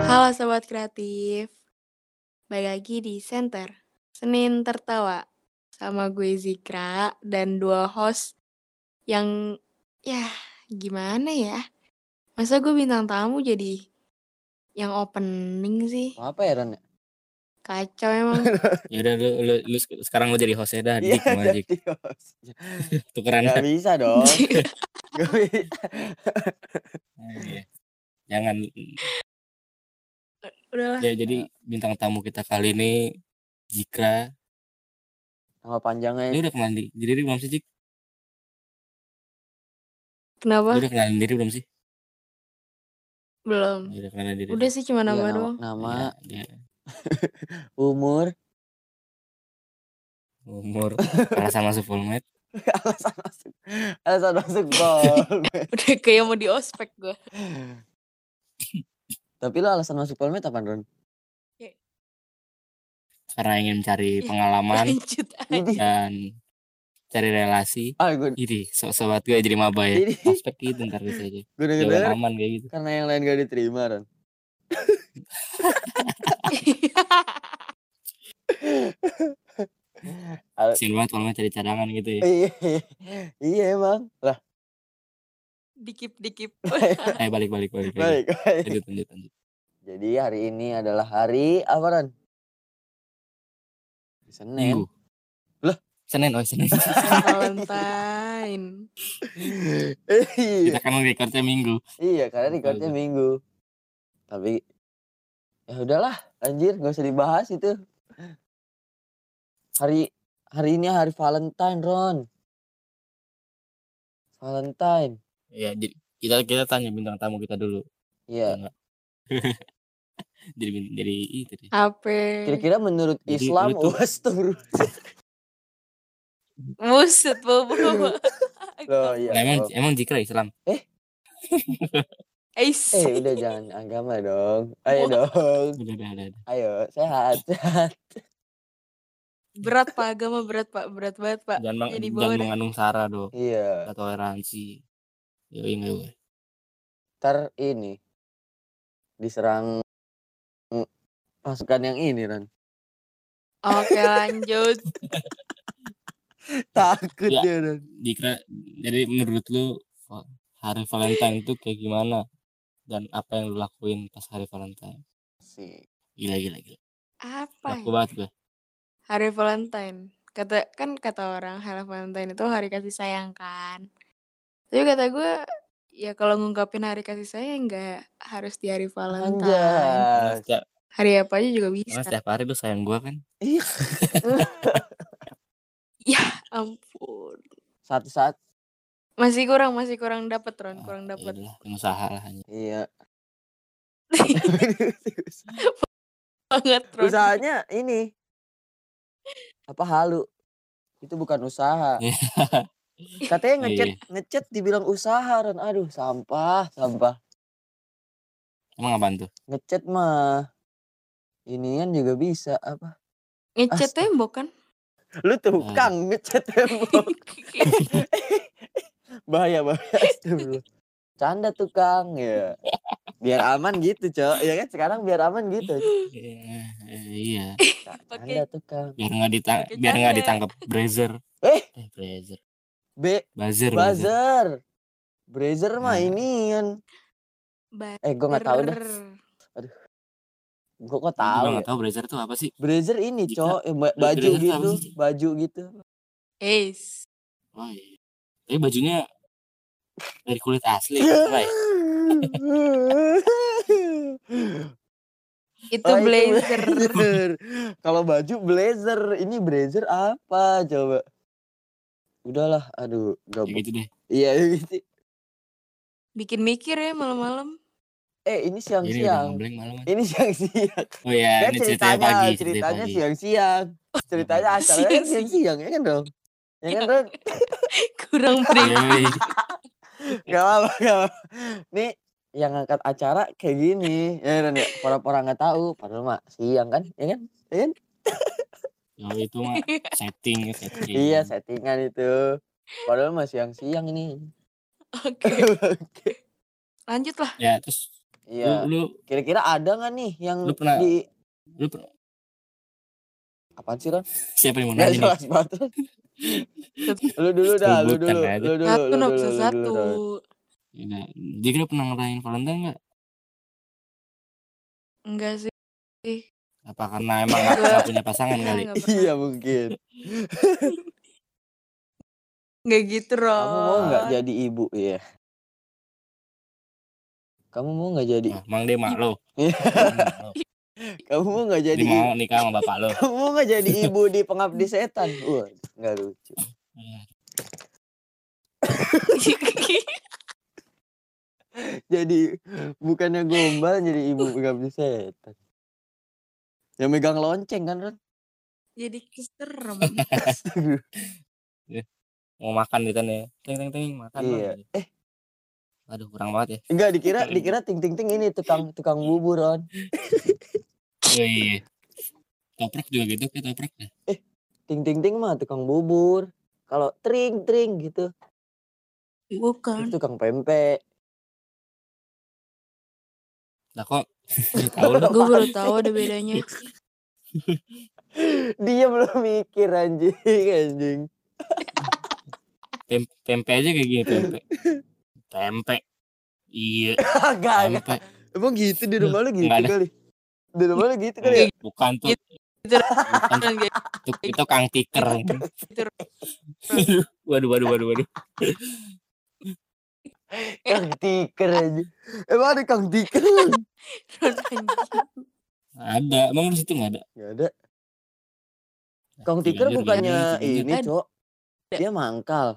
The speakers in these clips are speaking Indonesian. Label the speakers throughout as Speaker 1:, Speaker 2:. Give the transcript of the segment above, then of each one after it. Speaker 1: Halo Sobat Kreatif, balik lagi di Center, Senin Tertawa, sama gue Zikra dan dua host yang, ya gimana ya, masa gue bintang tamu jadi yang opening sih,
Speaker 2: Apa ya Ren?
Speaker 1: kacau emang.
Speaker 3: Ya udah lu, lu, lu sek- sekarang lu jadi hostnya dah,
Speaker 2: Iya,
Speaker 3: Dik sama Dik.
Speaker 2: jadi host.
Speaker 3: Tukeran. Oh,
Speaker 2: Nggak bisa dong.
Speaker 1: Iya,
Speaker 2: Nggak bisa.
Speaker 3: Iya. Jangan.
Speaker 1: Udah lah,
Speaker 3: Ya jadi bintang tamu kita kali ini Jikra.
Speaker 2: Nama panjangnya
Speaker 3: Lu udah kenalin di- diri belum sih, Jik? Lu
Speaker 1: kenapa?
Speaker 3: udah kenalin diri belum sih?
Speaker 1: Belum.
Speaker 3: Lu udah kenalin diri.
Speaker 1: Udah sih cuma
Speaker 2: iya,
Speaker 1: nama
Speaker 2: nama,
Speaker 1: doang.
Speaker 2: nama,
Speaker 3: Ya, ya.
Speaker 2: umur,
Speaker 3: Umur kalah sama Supulmet.
Speaker 2: alasan masuk, alasan masuk gol.
Speaker 1: Udah kayak mau di ospek gue.
Speaker 2: Tapi lo alasan masuk Polmed apa Ron?
Speaker 3: Karena ingin mencari
Speaker 1: Iya.
Speaker 3: pengalaman
Speaker 1: Lanjut aja.
Speaker 2: Ini,
Speaker 3: dan cari relasi.
Speaker 2: ah gue,
Speaker 3: Jadi sobat gue jadi maba ya.
Speaker 2: Jadi-
Speaker 3: Aspek gitu ntar bisa
Speaker 2: gue
Speaker 3: aja. Jangan
Speaker 2: denger
Speaker 3: aman kayak gitu.
Speaker 2: karena yang lain gak diterima Ron.
Speaker 3: Kasian banget kalau nggak cari cadangan gitu ya.
Speaker 2: Iya, iya emang. Lah,
Speaker 1: Dikip-dikip.
Speaker 3: Eh balik balik balik. balik.
Speaker 2: baik, baik.
Speaker 3: Lanjut lanjut lanjut.
Speaker 2: Jadi hari ini adalah hari apa Ron? Senin.
Speaker 3: Minggu. Senin oh Senin.
Speaker 1: Valentine.
Speaker 2: Iya.
Speaker 3: kita kan recordnya minggu
Speaker 2: Iya, karena recordnya
Speaker 3: Aduh.
Speaker 2: minggu. Tapi ya udahlah, anjir, gak usah dibahas itu. Hari hari ini hari Valentine, Ron. Valentine.
Speaker 3: ya jadi kita kita tanya bintang tamu kita dulu
Speaker 2: Iya.
Speaker 3: Ya nggak? jadi bin- jadi itu deh
Speaker 1: Apa?
Speaker 2: Kira-kira menurut
Speaker 3: Jadi
Speaker 2: Islam
Speaker 3: lu tuh-
Speaker 2: Astagfirullah.
Speaker 1: Buset, bobo.
Speaker 2: Loh, iya.
Speaker 3: Nah, emang
Speaker 2: oh.
Speaker 3: emang jikra Islam
Speaker 1: Eis.
Speaker 2: Eh, udah jangan agama dong. Ayo
Speaker 1: Wah.
Speaker 2: dong.
Speaker 3: udah udah udah udah.
Speaker 2: Ayo, sehat. sehat.
Speaker 1: Berat, Pak. Agama berat, Pak. Berat banget, Pak.
Speaker 3: jangan meng-
Speaker 1: jadi
Speaker 3: jangan
Speaker 1: bawah deh.
Speaker 3: mengandung sara dong
Speaker 2: Iya.
Speaker 3: Nggak toleransi yo iya ingat gue
Speaker 2: Ntar ini diserang pasukan yang ini, Ron.
Speaker 1: Oke, lanjut.
Speaker 2: Takut
Speaker 3: Ya.
Speaker 2: dia, Ron.
Speaker 3: jikra jadi menurut lu va- hari Valentine itu kayak gimana dan apa yang lu lakuin pas hari Valentine
Speaker 2: Sih.
Speaker 3: gila gila gila
Speaker 1: Apa?
Speaker 3: laku
Speaker 1: ya?
Speaker 3: banget gue
Speaker 1: Hari Valentine. Kata kan kata orang hari Valentine itu hari kasih sayang kan. Tapi kata gue ya kalau ngungkapin hari kasih sayang nggak harus di hari Valentine.
Speaker 3: Karena
Speaker 2: Anjas.
Speaker 3: setiap,
Speaker 1: Hari apa aja juga bisa.
Speaker 3: karena setiap hari lu sayang gue kan
Speaker 2: Iya.
Speaker 1: Ampun.
Speaker 2: Saat-saat.
Speaker 1: Masih kurang, masih kurang dapet Ron, kurang
Speaker 3: Ya
Speaker 1: dapet.
Speaker 3: udahlah, pengusaha lah hanya
Speaker 2: Iya.
Speaker 1: Banget Ron.
Speaker 2: Usahanya ini. Apa halu? Itu bukan usaha. Katanya ngecet, ngecet dibilang usaha, Ron. Aduh, sampah, sampah.
Speaker 3: emang apaan tuh
Speaker 2: Ngecet mah. Inian juga bisa apa?
Speaker 1: Ngecat
Speaker 2: Astaga.
Speaker 1: tembok kan?
Speaker 2: Lu tukang ngecet tembok. bahaya bahaya. Astagfirullah. Canda tukang ya. Biar aman gitu, Cok. Ya kan sekarang biar aman gitu.
Speaker 3: Iya, iya
Speaker 1: Pakai-
Speaker 2: Canda tukang.
Speaker 3: biar nggak ditang
Speaker 1: Pakai
Speaker 3: biar nggak
Speaker 1: canda.
Speaker 3: ditangkap brazer
Speaker 2: Eh?
Speaker 3: eh brazer
Speaker 2: B
Speaker 3: buzzer buzzer
Speaker 2: buzzer. Buzzer mah
Speaker 3: Nah.
Speaker 2: inian.
Speaker 1: Bader.
Speaker 2: Eh gue nggak tahu deh. Gue kok
Speaker 3: tahu
Speaker 2: tahu.
Speaker 3: nggak
Speaker 2: Ya.
Speaker 3: tahu brazer itu apa sih
Speaker 2: Blazer ini
Speaker 3: Jika-
Speaker 2: cowok eh, ba-
Speaker 3: Bla-
Speaker 2: baju
Speaker 3: blazer tuh apa
Speaker 2: gitu,
Speaker 3: sih?
Speaker 2: baju gitu.
Speaker 1: Eis.
Speaker 3: oh, iya. tapi bajunya dari kulit asli
Speaker 2: Iya.
Speaker 3: ya? Rai.
Speaker 1: Itu
Speaker 2: Oh, itu
Speaker 1: blazer.
Speaker 2: blazer. Kalau baju blazer, ini blazer apa coba? Udahlah, aduh,
Speaker 3: Ya
Speaker 2: gabut.
Speaker 3: gitu deh
Speaker 2: Iya, gitu.
Speaker 1: Bikin mikir ya malam-malam.
Speaker 2: Eh, ini
Speaker 3: ini udah
Speaker 2: siang-siang.
Speaker 3: ngeblank malam
Speaker 2: Ini siang-siang.
Speaker 3: oh ya
Speaker 2: Kan
Speaker 3: ini ceritanya
Speaker 2: ceritanya,
Speaker 3: pagi ceritanya
Speaker 2: ceritanya
Speaker 3: pagi
Speaker 2: siang-siang. Ceritanya acaranya kan
Speaker 1: Siang-siang.
Speaker 2: siang-siang, ya kan dong? Ya kan, Ren?
Speaker 1: Kurang
Speaker 2: Iya.
Speaker 1: break.
Speaker 3: Yoi.
Speaker 2: Gak apa-apa, gak apa-apa. Nih yang ngangkat acara kayak gini, ya kan ya. Orang-orang nggak tahu, padahal mah siang kan, ya kan?
Speaker 3: Yoi, Oh, itu mah setting ya, setting
Speaker 2: Iya settingan itu. Padahal mah siang-siang ini.
Speaker 1: Oke. Lanjut lah.
Speaker 3: ya terus
Speaker 2: Iya.
Speaker 3: Lu, lu,
Speaker 2: Kira-kira ada nggak nih yang
Speaker 3: Lu pernah-
Speaker 2: di
Speaker 3: lu per-
Speaker 2: apaan sih Ron?
Speaker 3: siapa yang mau
Speaker 2: Nggak
Speaker 3: nanya? nih?
Speaker 2: jelas banget. lu dulu dah, lu
Speaker 3: Sebutkan
Speaker 2: dulu,
Speaker 3: aja.
Speaker 2: lu dulu,
Speaker 1: Satu
Speaker 2: lu
Speaker 1: Nob,
Speaker 2: dulu, lu
Speaker 1: satu.
Speaker 2: dulu, Ron.
Speaker 3: Iya. Jadi lu pernah ngerayain Valentine nggak?
Speaker 1: Enggak sih.
Speaker 3: Apa karena emang nggak nggak punya pasangan kali?
Speaker 1: Enggak pernah.
Speaker 2: Iya mungkin.
Speaker 1: Enggak gitu, Ron.
Speaker 2: Kamu mau nggak jadi ibu ya? Kamu mau nggak jadi?
Speaker 3: Nah, Mang Dema lo.
Speaker 2: Iya. Kamu mau nggak jadi?
Speaker 3: Jadi mau nikah sama bapak lo.
Speaker 2: Kamu mau nggak jadi ibu di pengabdi setan? Wah, nggak lucu. Jadi bukannya gombal jadi ibu pengabdi setan. Yang megang lonceng kan Ron?
Speaker 1: Jadi keserem.
Speaker 3: Mau makan gitu nih. Teng teng teng makan. lo.
Speaker 2: Iya. Eh,
Speaker 3: Aduh kurang banget ya.
Speaker 2: enggak dikira dikira ting ting ting ini tukang tukang bubur Ron.
Speaker 3: Oh, iya. Toprak juga gitu kayak toprak ya.
Speaker 2: Ting ting ting mah tukang bubur. Kalau tring tring gitu
Speaker 1: Bukan.
Speaker 2: itu tukang pempek.
Speaker 3: Lah kok tahu lo?
Speaker 1: Gue baru tahu ada bedanya.
Speaker 2: Dia belum mikir anjing anjing.
Speaker 3: Tem tempe aja kayak gini tempe. Tempe. Iya,
Speaker 2: Agak agak.
Speaker 3: tempe.
Speaker 2: Emang gitu di rumah lu gitu
Speaker 3: Nggak ada. Iya.
Speaker 2: kali. Di rumah lu gitu kali. ya?
Speaker 3: Bukan tuh.
Speaker 2: Iya.
Speaker 3: Bukan itu, itu Kang Tiker. waduh, waduh, waduh, waduh.
Speaker 2: Kang tiker aja. Emang ada kang tiker?
Speaker 3: Ada, emang di situ nggak ada.
Speaker 2: Gak ada. Kang
Speaker 3: Iya,
Speaker 2: tiker
Speaker 3: iya, iya,
Speaker 2: bukannya
Speaker 3: iya, iya.
Speaker 2: ini
Speaker 1: Ada.
Speaker 2: cok.
Speaker 3: ya.
Speaker 2: Dia mangkal.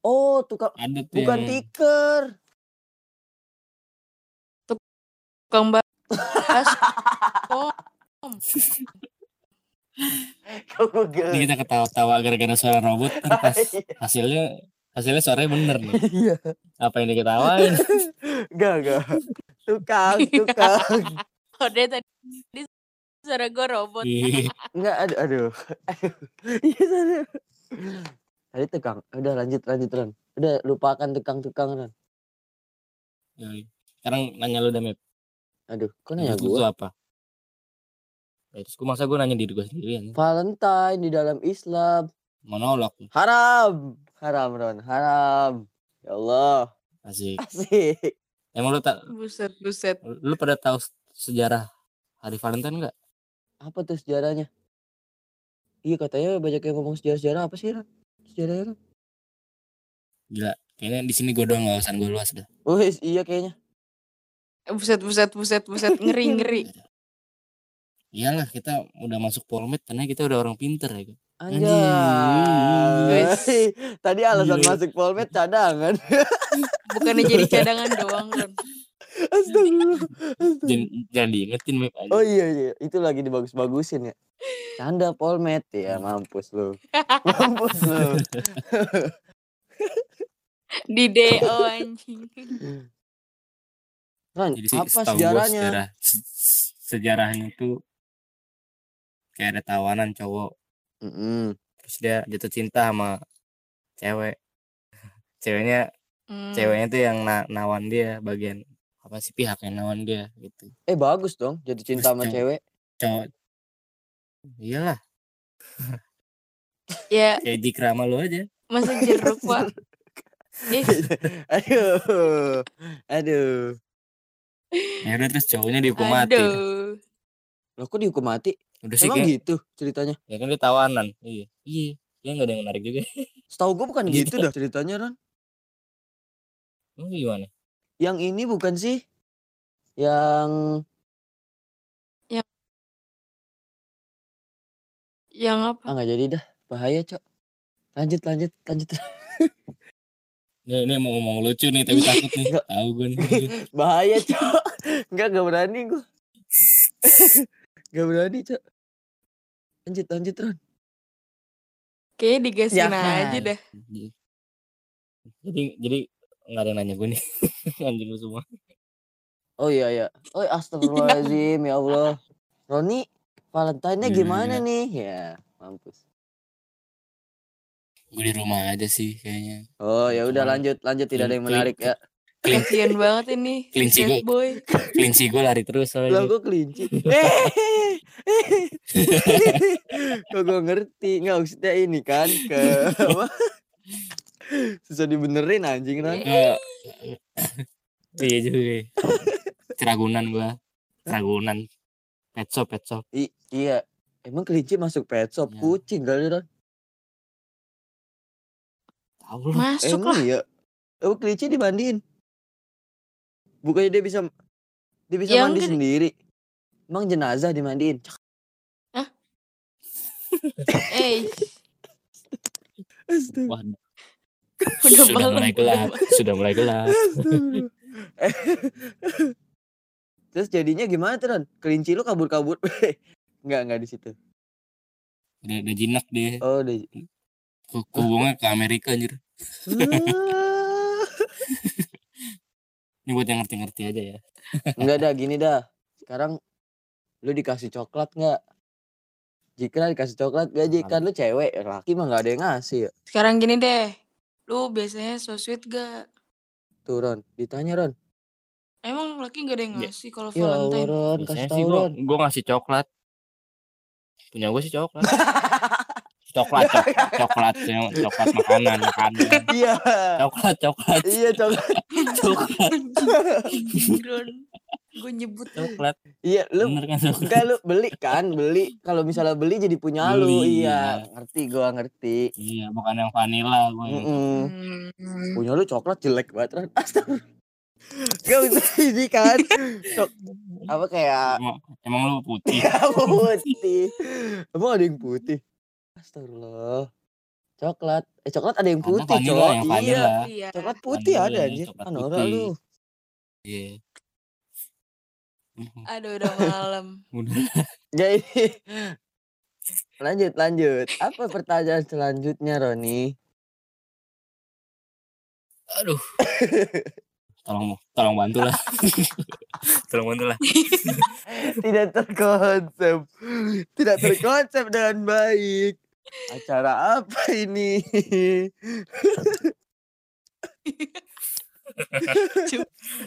Speaker 2: Oh tukang.
Speaker 3: Ada tuh.
Speaker 2: Bukan
Speaker 3: yang-
Speaker 2: tiker.
Speaker 1: Kang Bas. Oh,
Speaker 2: Kamu
Speaker 3: Ini
Speaker 2: geli.
Speaker 3: kita ketawa-tawa gara-gara suara robot kan pas hasilnya hasilnya suaranya bener nih.
Speaker 2: Iya.
Speaker 3: Apa yang diketawain?
Speaker 2: Gak gak. Tukang
Speaker 3: Iya.
Speaker 2: tukang.
Speaker 1: Oh, dia tadi tadi suara gue robot.
Speaker 3: Ih,
Speaker 2: Enggak aduh aduh. Aduh. Iya aduh. Tadi tukang. Udah lanjut lanjut Ron. Udah lupakan tukang-tukang Ron.
Speaker 3: yoi. Sekarang nanya lu Damit.
Speaker 2: Aduh, kok nanya
Speaker 3: Menurut lu
Speaker 2: gue?
Speaker 3: tuh apa? Ya, terus gue masa gue nanya diri gue sendiri ya.
Speaker 2: Valentine di dalam Islam
Speaker 3: Monolog.
Speaker 2: haram, haram Ron, haram. Ya Allah,
Speaker 3: Asik.
Speaker 2: asik.
Speaker 3: Emang lu tak
Speaker 1: Buset, buset.
Speaker 3: lu pada tahu s- sejarah hari Valentine nggak?
Speaker 2: Apa tuh sejarahnya? Iya katanya banyak yang ngomong sejarah-sejarah apa sih Ron? Sejarahnya Ron?
Speaker 3: Gila. Kayaknya di sini gue doang wawasan gue luas dah.
Speaker 2: Wih, iya kayaknya.
Speaker 1: Buset, buset, buset, buset. Ngeri, ngeri.
Speaker 3: Iyalah kita udah masuk polmed karena kita udah orang pinter ya. kan.
Speaker 2: Anjay.
Speaker 1: Wis.
Speaker 2: Tadi alasan
Speaker 3: Iya.
Speaker 2: masuk kan? Polmed cadangan.
Speaker 1: Bukannya jadi cadangan doang, Ron.
Speaker 2: Astagfirullah.
Speaker 3: Jangan, jangan diingetin Mep aja.
Speaker 2: Oh iya iya, itu lagi dibagus-bagusin ya. Canda Polmed ya, mampus lu. Mampus lu.
Speaker 1: Di DO anjing.
Speaker 2: Ron,
Speaker 3: Jadi sih,
Speaker 2: apa
Speaker 3: setahu gua
Speaker 2: sejarahnya?
Speaker 3: Sejarah, se- se- sejarahnya itu kayak ada tawanan cowok,
Speaker 2: Mm-mm.
Speaker 3: terus dia jatuh cinta sama cewek. Ceweknya,
Speaker 1: Hmm.
Speaker 3: ceweknya tuh yang na- nawan dia bagian apa sih pihak yang nawan dia gitu.
Speaker 2: Eh bagus dong jadi cinta sama
Speaker 3: Terus
Speaker 2: cewek.
Speaker 3: Cowok Iyalah,
Speaker 1: Ya,
Speaker 3: kayak Jikra sama lu aja.
Speaker 1: masa jeruk, Pak. Ih,
Speaker 2: aduh. Aduh.
Speaker 3: Ya udah terus cowoknya dihukum mati.
Speaker 1: aduh.
Speaker 2: Loh kok dihukum mati?
Speaker 3: Udah sih
Speaker 2: Emang
Speaker 3: kayak,
Speaker 2: gitu ceritanya?
Speaker 3: ya kan dia tawanan. Iya. Iya, dia enggak ada yang menarik juga.
Speaker 2: Setahu gue bukan
Speaker 3: Gitu.
Speaker 2: gitu dah ceritanya Ron.
Speaker 3: Lu gimana?
Speaker 2: Yang ini bukan sih? Yang
Speaker 1: Yang apa?
Speaker 2: ah nggak jadi dah. Bahaya, Cok. Lanjut lanjut lanjut.
Speaker 3: Ini, ini mau ngomong lucu nih
Speaker 1: Iya.
Speaker 3: tapi takut nih. Tahu gue nih.
Speaker 2: Bahaya, Cok. Enggak enggak berani gue. Enggak berani, Cok. Lanjut lanjut Ron.
Speaker 1: Kayaknya digasin
Speaker 2: Jangan.
Speaker 1: aja dah.
Speaker 3: Jadi- jadi jadi nggak ada yang nanya gue nih anjing lu semua
Speaker 2: Oh iya iya. Oh astagfirullahaladzim ya Allah. Roni, Valentine-nya
Speaker 3: Iya,
Speaker 2: gimana
Speaker 3: iya.
Speaker 2: nih? Ya, mampus.
Speaker 3: gue di rumah aja sih kayaknya
Speaker 2: Oh ya udah
Speaker 3: Cuman
Speaker 2: Oh, ya lanjut lanjut tidak ada yang
Speaker 3: klik-
Speaker 2: menarik ya.
Speaker 3: Kelinci.
Speaker 1: Kasian banget ini.
Speaker 3: Kelinci
Speaker 1: Jack
Speaker 3: gue.
Speaker 1: boy.
Speaker 3: kelinci gue lari terus
Speaker 2: Lah
Speaker 3: soalnya
Speaker 2: gue kelinci. Hehehe. Eh, Kok gue ngerti nggak maksudnya ini kan ke apa? susah dibenerin anjing kan.
Speaker 1: Eh,
Speaker 3: Gua- iya
Speaker 2: ya.
Speaker 3: juga ceragunan gue ceragunan pet shop pet shop
Speaker 2: I- iya. Emang kelinci masuk pet shop
Speaker 3: Iya.
Speaker 2: kucing kali Ron?
Speaker 3: tahu lu
Speaker 1: Masuk lah.
Speaker 2: Emang iya. Emang kelinci dimandiin. Bukannya dia bisa dia bisa
Speaker 1: Ya,
Speaker 2: mandi
Speaker 1: enggak.
Speaker 2: sendiri. Emang jenazah dimandiin. Cak,
Speaker 1: Eh,
Speaker 2: astaga,
Speaker 3: Wah,
Speaker 1: udah
Speaker 3: sudah
Speaker 1: malam.
Speaker 3: mulai
Speaker 1: udah
Speaker 3: gelap sudah mulai gelap
Speaker 2: astaga. Eh, Terus jadinya gimana tuh Ron? Kelinci lu kabur-kabur. Enggak, enggak di situ.
Speaker 3: udah, udah jinak dia
Speaker 2: Oh, udah.
Speaker 3: Ku- kubungnya ke Amerika anjir
Speaker 2: Ah.
Speaker 3: ini buat yang ngerti-ngerti aja ya
Speaker 2: Enggak dah gini dah. Sekarang lu dikasih coklat nggak? Jika dikasih coklat gak Jik? kan lu cewek, laki mah nggak ada yang ngasih ya.
Speaker 1: Sekarang gini deh. Lu biasanya so sweet gak?
Speaker 2: Tuh Ron, ditanya Ron.
Speaker 1: Emang laki gak ada yang
Speaker 3: Ya.
Speaker 1: ngasih kalau
Speaker 2: Ya Allah
Speaker 1: Valentine?
Speaker 2: Ron, kasih
Speaker 3: Biasanya sih
Speaker 2: tau
Speaker 3: gue
Speaker 2: Ron.
Speaker 3: gue ngasih coklat punya gue sih coklat coklat cok- coklat cok- coklat makanan makanan
Speaker 2: Iya,
Speaker 3: coklat coklat
Speaker 2: iya coklat.
Speaker 3: coklat
Speaker 1: Gue nyebut.
Speaker 3: coklat
Speaker 2: Iya, lu
Speaker 3: bener kan coklat
Speaker 2: enggak lu beli kan, beli. Kalau misalnya beli jadi punya lu.
Speaker 3: Beli,
Speaker 2: Iya, ngerti gua ngerti.
Speaker 3: iya bukan yang vanilla gue
Speaker 2: Mm-mm.
Speaker 1: Hmm.
Speaker 2: Punya lu coklat jelek banget Ron. Astaga. Gak usah ini kan. Cok- apa kayak
Speaker 3: emang, emang lu putih
Speaker 2: Ya, putih. Emang ada yang putih? Astagfirullah. Coklat. Eh coklat ada yang
Speaker 3: Ada
Speaker 2: putih,
Speaker 3: vanilla,
Speaker 2: cok.
Speaker 3: yang
Speaker 2: Iya.
Speaker 3: vanilla.
Speaker 1: Iya.
Speaker 2: Coklat putih
Speaker 3: Vanilla
Speaker 2: ada
Speaker 3: ya,
Speaker 2: anjir.
Speaker 3: coklat
Speaker 2: Kan orang
Speaker 3: putih.
Speaker 2: lu.
Speaker 3: Iya. Mhm,
Speaker 1: Aduh udah malam.
Speaker 3: Udah.
Speaker 2: Jadi Ya, lanjut lanjut. Apa pertanyaan selanjutnya Roni?
Speaker 3: Aduh. Tolong tolong bantu lah. tolong bantu lah.
Speaker 2: Tidak terkonsep. Tidak terkonsep dengan baik. Acara apa ini?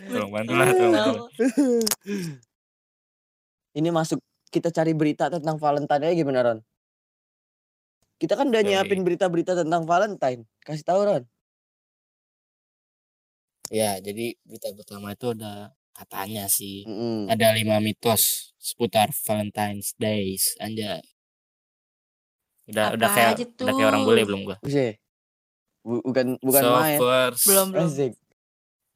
Speaker 3: Tolong bantu lah, tolong bantu lah.
Speaker 2: ini masuk kita cari berita tentang Valentine aja gimana Ron? Kita kan udah
Speaker 3: Yoi.
Speaker 2: nyiapin berita-berita tentang Valentine. Kasih tahu Ron.
Speaker 3: Ya, jadi berita pertama itu ada katanya sih
Speaker 2: Mm-mm.
Speaker 3: ada lima mitos seputar Valentine's Days anjay. Udah udah
Speaker 1: Apa
Speaker 3: kayak
Speaker 1: aja
Speaker 3: udah kayak orang
Speaker 1: tuh?
Speaker 3: bule belum gua.
Speaker 2: Buset. Bu- bukan bukan
Speaker 3: so
Speaker 2: main.
Speaker 3: first,
Speaker 1: Belum belum.
Speaker 2: Asik.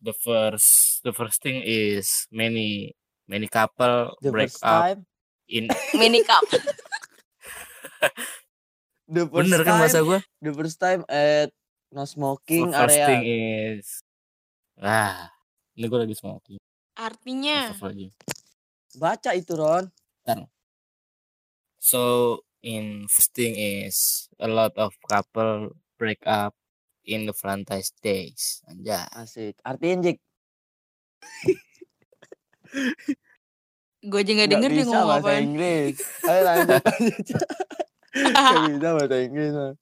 Speaker 3: the first the first thing is many many couple
Speaker 2: The
Speaker 3: break
Speaker 2: first
Speaker 3: up
Speaker 2: time.
Speaker 3: in
Speaker 1: Mini cup.
Speaker 2: The first
Speaker 3: bener kan
Speaker 2: time.
Speaker 3: masa gua?
Speaker 2: The first time at no smoking
Speaker 3: The first
Speaker 2: area.
Speaker 3: thing is ah ini gue lagi smoking
Speaker 1: Hmm. Artinya.
Speaker 3: lagi.
Speaker 2: Baca itu Ron.
Speaker 3: so in first thing is a lot of couple break up in the Valentine's days anjay
Speaker 2: Asik. Artiin Jik.
Speaker 1: Gue aja gak
Speaker 2: Nggak
Speaker 1: denger dia
Speaker 2: bisa
Speaker 1: ngomong
Speaker 2: bahasa
Speaker 1: apa.
Speaker 2: Inggris. Ayo lanjut lanjut. Gak bisa bahasa Inggris. Ron.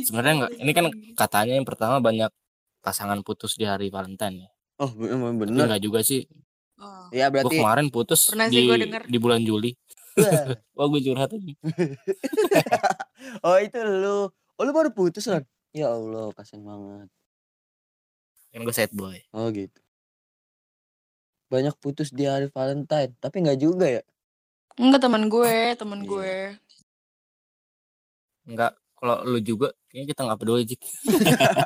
Speaker 3: sebenarnya nggak ini kan katanya yang pertama banyak pasangan putus di hari Valentine ya
Speaker 2: Oh bener
Speaker 3: Tapi
Speaker 2: bener.
Speaker 3: nggak juga sih
Speaker 1: Oh.
Speaker 2: Ya
Speaker 3: gue
Speaker 2: berarti. Iya.
Speaker 3: kemarin putus
Speaker 1: Pernah sih
Speaker 3: di
Speaker 1: gua denger.
Speaker 3: di bulan Juli wah gue curhat aja
Speaker 2: Oh itu lu. Oh lu baru putus kan? Ya Allah kasihan banget.
Speaker 3: kan gue sad boy
Speaker 2: Oh gitu. Banyak putus di hari Valentine. Tapi nggak juga ya.
Speaker 1: Enggak teman gue, teman
Speaker 3: Iya.
Speaker 1: gue.
Speaker 3: nggak kalau lu juga kayaknya kita nggak peduli Jik.
Speaker 1: Kayak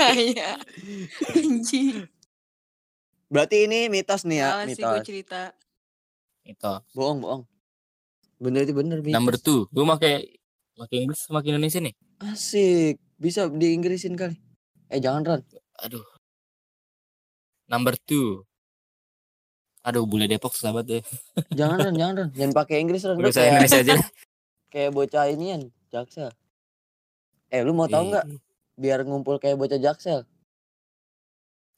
Speaker 1: Nah, iya. anjing.
Speaker 2: Berarti ini mitos nih ya.
Speaker 1: Salah sih gue
Speaker 2: mitos.
Speaker 1: cerita.
Speaker 3: itu
Speaker 2: Bohong bohong. Bener itu bener. Mitos.
Speaker 3: number two gue make make Inggris makin Indonesia nih
Speaker 2: Asik. Bisa di Inggrisin kali. Eh jangan Ron.
Speaker 3: aduh number two aduh bule Depok susah banget deh
Speaker 2: Jangan Ron. jangan Ron. Jangan pakai Inggris Ron. Lu
Speaker 3: udah
Speaker 2: kayak,
Speaker 3: saya Indonesia aja
Speaker 2: kayak bocah inian. Jaksa. Eh lu mau
Speaker 3: tau
Speaker 2: tahu nggak? Biar ngumpul kayak bocah jaksel.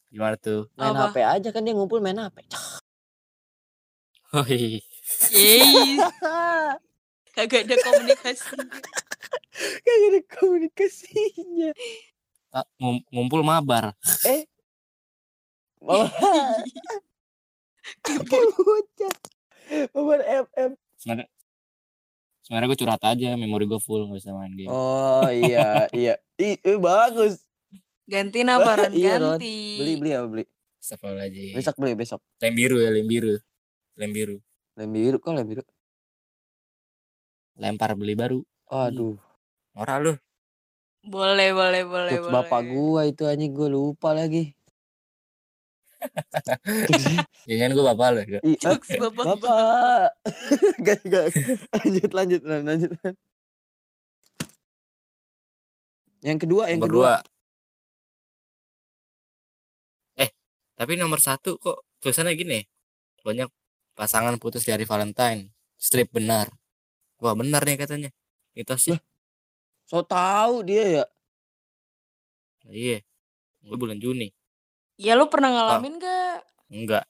Speaker 3: gimana tuh
Speaker 2: Main
Speaker 1: Apa?
Speaker 2: HP aja kan dia ngumpul main HP.
Speaker 3: Hoi.
Speaker 1: Yeay, kagak ada komunikasi.
Speaker 2: Gak ada komunikasinya.
Speaker 3: ta- Ah, ngum- ngumpul mabar.
Speaker 2: Mama Bocah. Mama FM.
Speaker 3: Sebenarnya sebenarnya gue curhat aja, memori gue full nggak bisa main game.
Speaker 2: Oh iya iya. Ih, eh, bagus.
Speaker 1: Ganti nama Ron,
Speaker 2: Iya, Ron.
Speaker 1: ganti.
Speaker 2: Beli beli ya beli.
Speaker 3: Astagfirullahaladzim.
Speaker 2: Besok beli besok.
Speaker 3: Lem biru ya, lem biru. Lem biru.
Speaker 2: Lem biru kok lem biru.
Speaker 3: Lempar beli baru.
Speaker 2: Aduh,
Speaker 3: Norak lu.
Speaker 1: Boleh, boleh, boleh,
Speaker 2: jokes
Speaker 1: boleh.
Speaker 2: bapak gua itu anjing gua lupa lagi.
Speaker 3: Jangan gue bapak lu. ya.
Speaker 2: Ih, ah,
Speaker 1: Jokes bapak.
Speaker 2: Bapak. gak, gak. Lanjut lanjut Ran, lanjut. Ran. Yang kedua, yang
Speaker 3: nomor
Speaker 2: kedua.
Speaker 3: dua. Eh, tapi nomor satu kok tulisannya gini. ya? Banyak pasangan putus dari Valentine. Strip benar. Wah benar nih katanya. ya? Itu sih.
Speaker 2: So tahu dia ya.
Speaker 3: Iya. Gue bulan Juni.
Speaker 1: Ya lu pernah
Speaker 3: Ah.
Speaker 1: ngalamin gak?
Speaker 3: Enggak.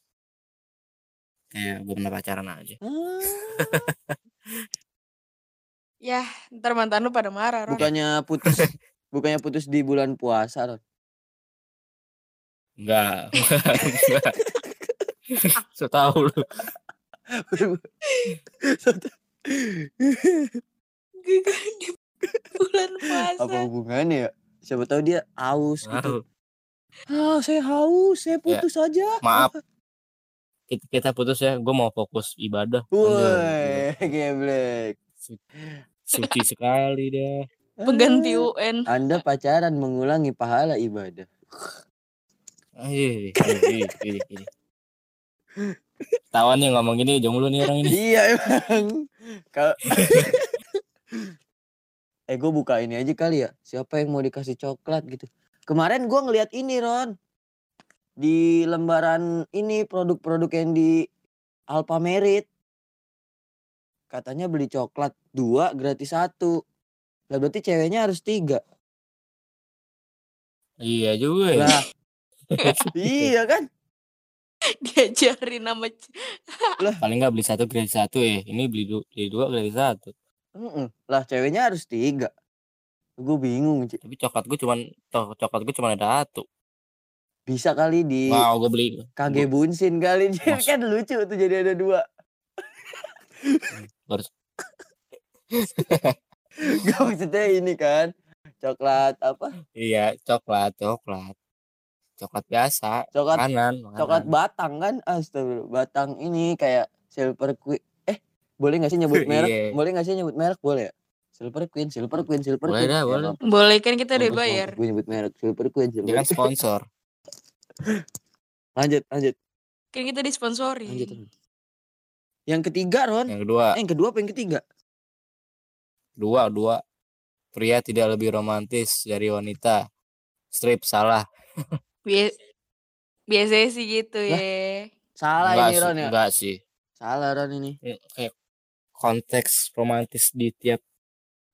Speaker 3: Kayak gue pernah pacaran aja.
Speaker 2: Ah,
Speaker 1: Yah, ntar mantan lu pada marah, Ron.
Speaker 2: Bukannya putus bukannya putus di bulan puasa, Ron.
Speaker 3: Enggak. Enggak. so tau lu.
Speaker 2: So tahu.
Speaker 1: Gagal di bulan puasa.
Speaker 2: Apa hubungannya ya? Siapa tahu dia haus gitu.
Speaker 3: Tahu.
Speaker 2: Ah, saya haus, saya putus aja.
Speaker 3: Maaf. Kita- Kita putus ya. Gue mau fokus ibadah. Anjay.
Speaker 2: Woi, geblek.
Speaker 3: Suci sekali deh.
Speaker 1: Pengganti
Speaker 2: Ah,
Speaker 1: UN.
Speaker 2: Anda pacaran mengulangi pahala ibadah.
Speaker 3: Aih, aih, aih, aih. Tawan yang iya. ngomong gini jomblo nih orang ini.
Speaker 2: iya emang. Kalau Eh gue buka ini aja kali ya. Siapa yang mau dikasih coklat gitu. Kemarin gua ngeliat ini Ron. Di lembaran ini produk-produk yang di Alpamerit. Katanya beli coklat dua gratis satu. Lah berarti ceweknya harus tiga.
Speaker 3: Iya juga ya.
Speaker 2: Lah. iya kan?
Speaker 1: Diajarin nama
Speaker 3: Paling nggak beli satu gratis satu ya. Ini beli dua, beli dua gratis satu.
Speaker 2: Mm-mm. Lah ceweknya harus tiga. Gue bingung. Ci.
Speaker 3: Tapi coklat gue cuman toh coklat gue cuma ada satu.
Speaker 2: Bisa kali di
Speaker 3: Wow, gue beli.
Speaker 2: KG Bunsin kali. Ci.
Speaker 3: Mas-
Speaker 2: kan lucu tuh jadi ada dua.
Speaker 3: Harus-
Speaker 2: Gak maksudnya ini kan. Coklat apa?
Speaker 3: Iya, coklat, coklat. Coklat biasa,
Speaker 2: Coklat
Speaker 3: makanan,
Speaker 2: coklat
Speaker 3: makanan.
Speaker 2: batang kan? Astagfirullah. Batang ini kayak Silver Queen. Eh boleh gak sih nyebut merek?
Speaker 3: Iya.
Speaker 2: boleh gak sih nyebut merek? Boleh ya? Silver Queen, Silver Queen, Silver
Speaker 3: Boleh
Speaker 2: Queen.
Speaker 3: dah, boleh.
Speaker 1: Boleh kan kita udah
Speaker 2: Mampus,
Speaker 1: bayar.
Speaker 2: mampus, Gue nyebut merek Silver Queen, Silver
Speaker 3: Dia kan
Speaker 2: Queen.
Speaker 3: sponsor.
Speaker 2: Lanjut, lanjut,
Speaker 1: Kan kita disponsori.
Speaker 2: lanjut. Yang ketiga Ron.
Speaker 3: Yang kedua,
Speaker 2: Eh, yang kedua apa yang ketiga?
Speaker 3: dua, dua. Pria tidak lebih romantis dari wanita. Strip salah.
Speaker 1: Bia- Biasanya sih gitu
Speaker 2: Lah.
Speaker 1: ya.
Speaker 2: Salah
Speaker 3: Enggak
Speaker 2: ini
Speaker 3: sih,
Speaker 2: Ron ya.
Speaker 3: enggak sih.
Speaker 2: Salah Ron ini.
Speaker 3: Ya, kayak konteks romantis di tiap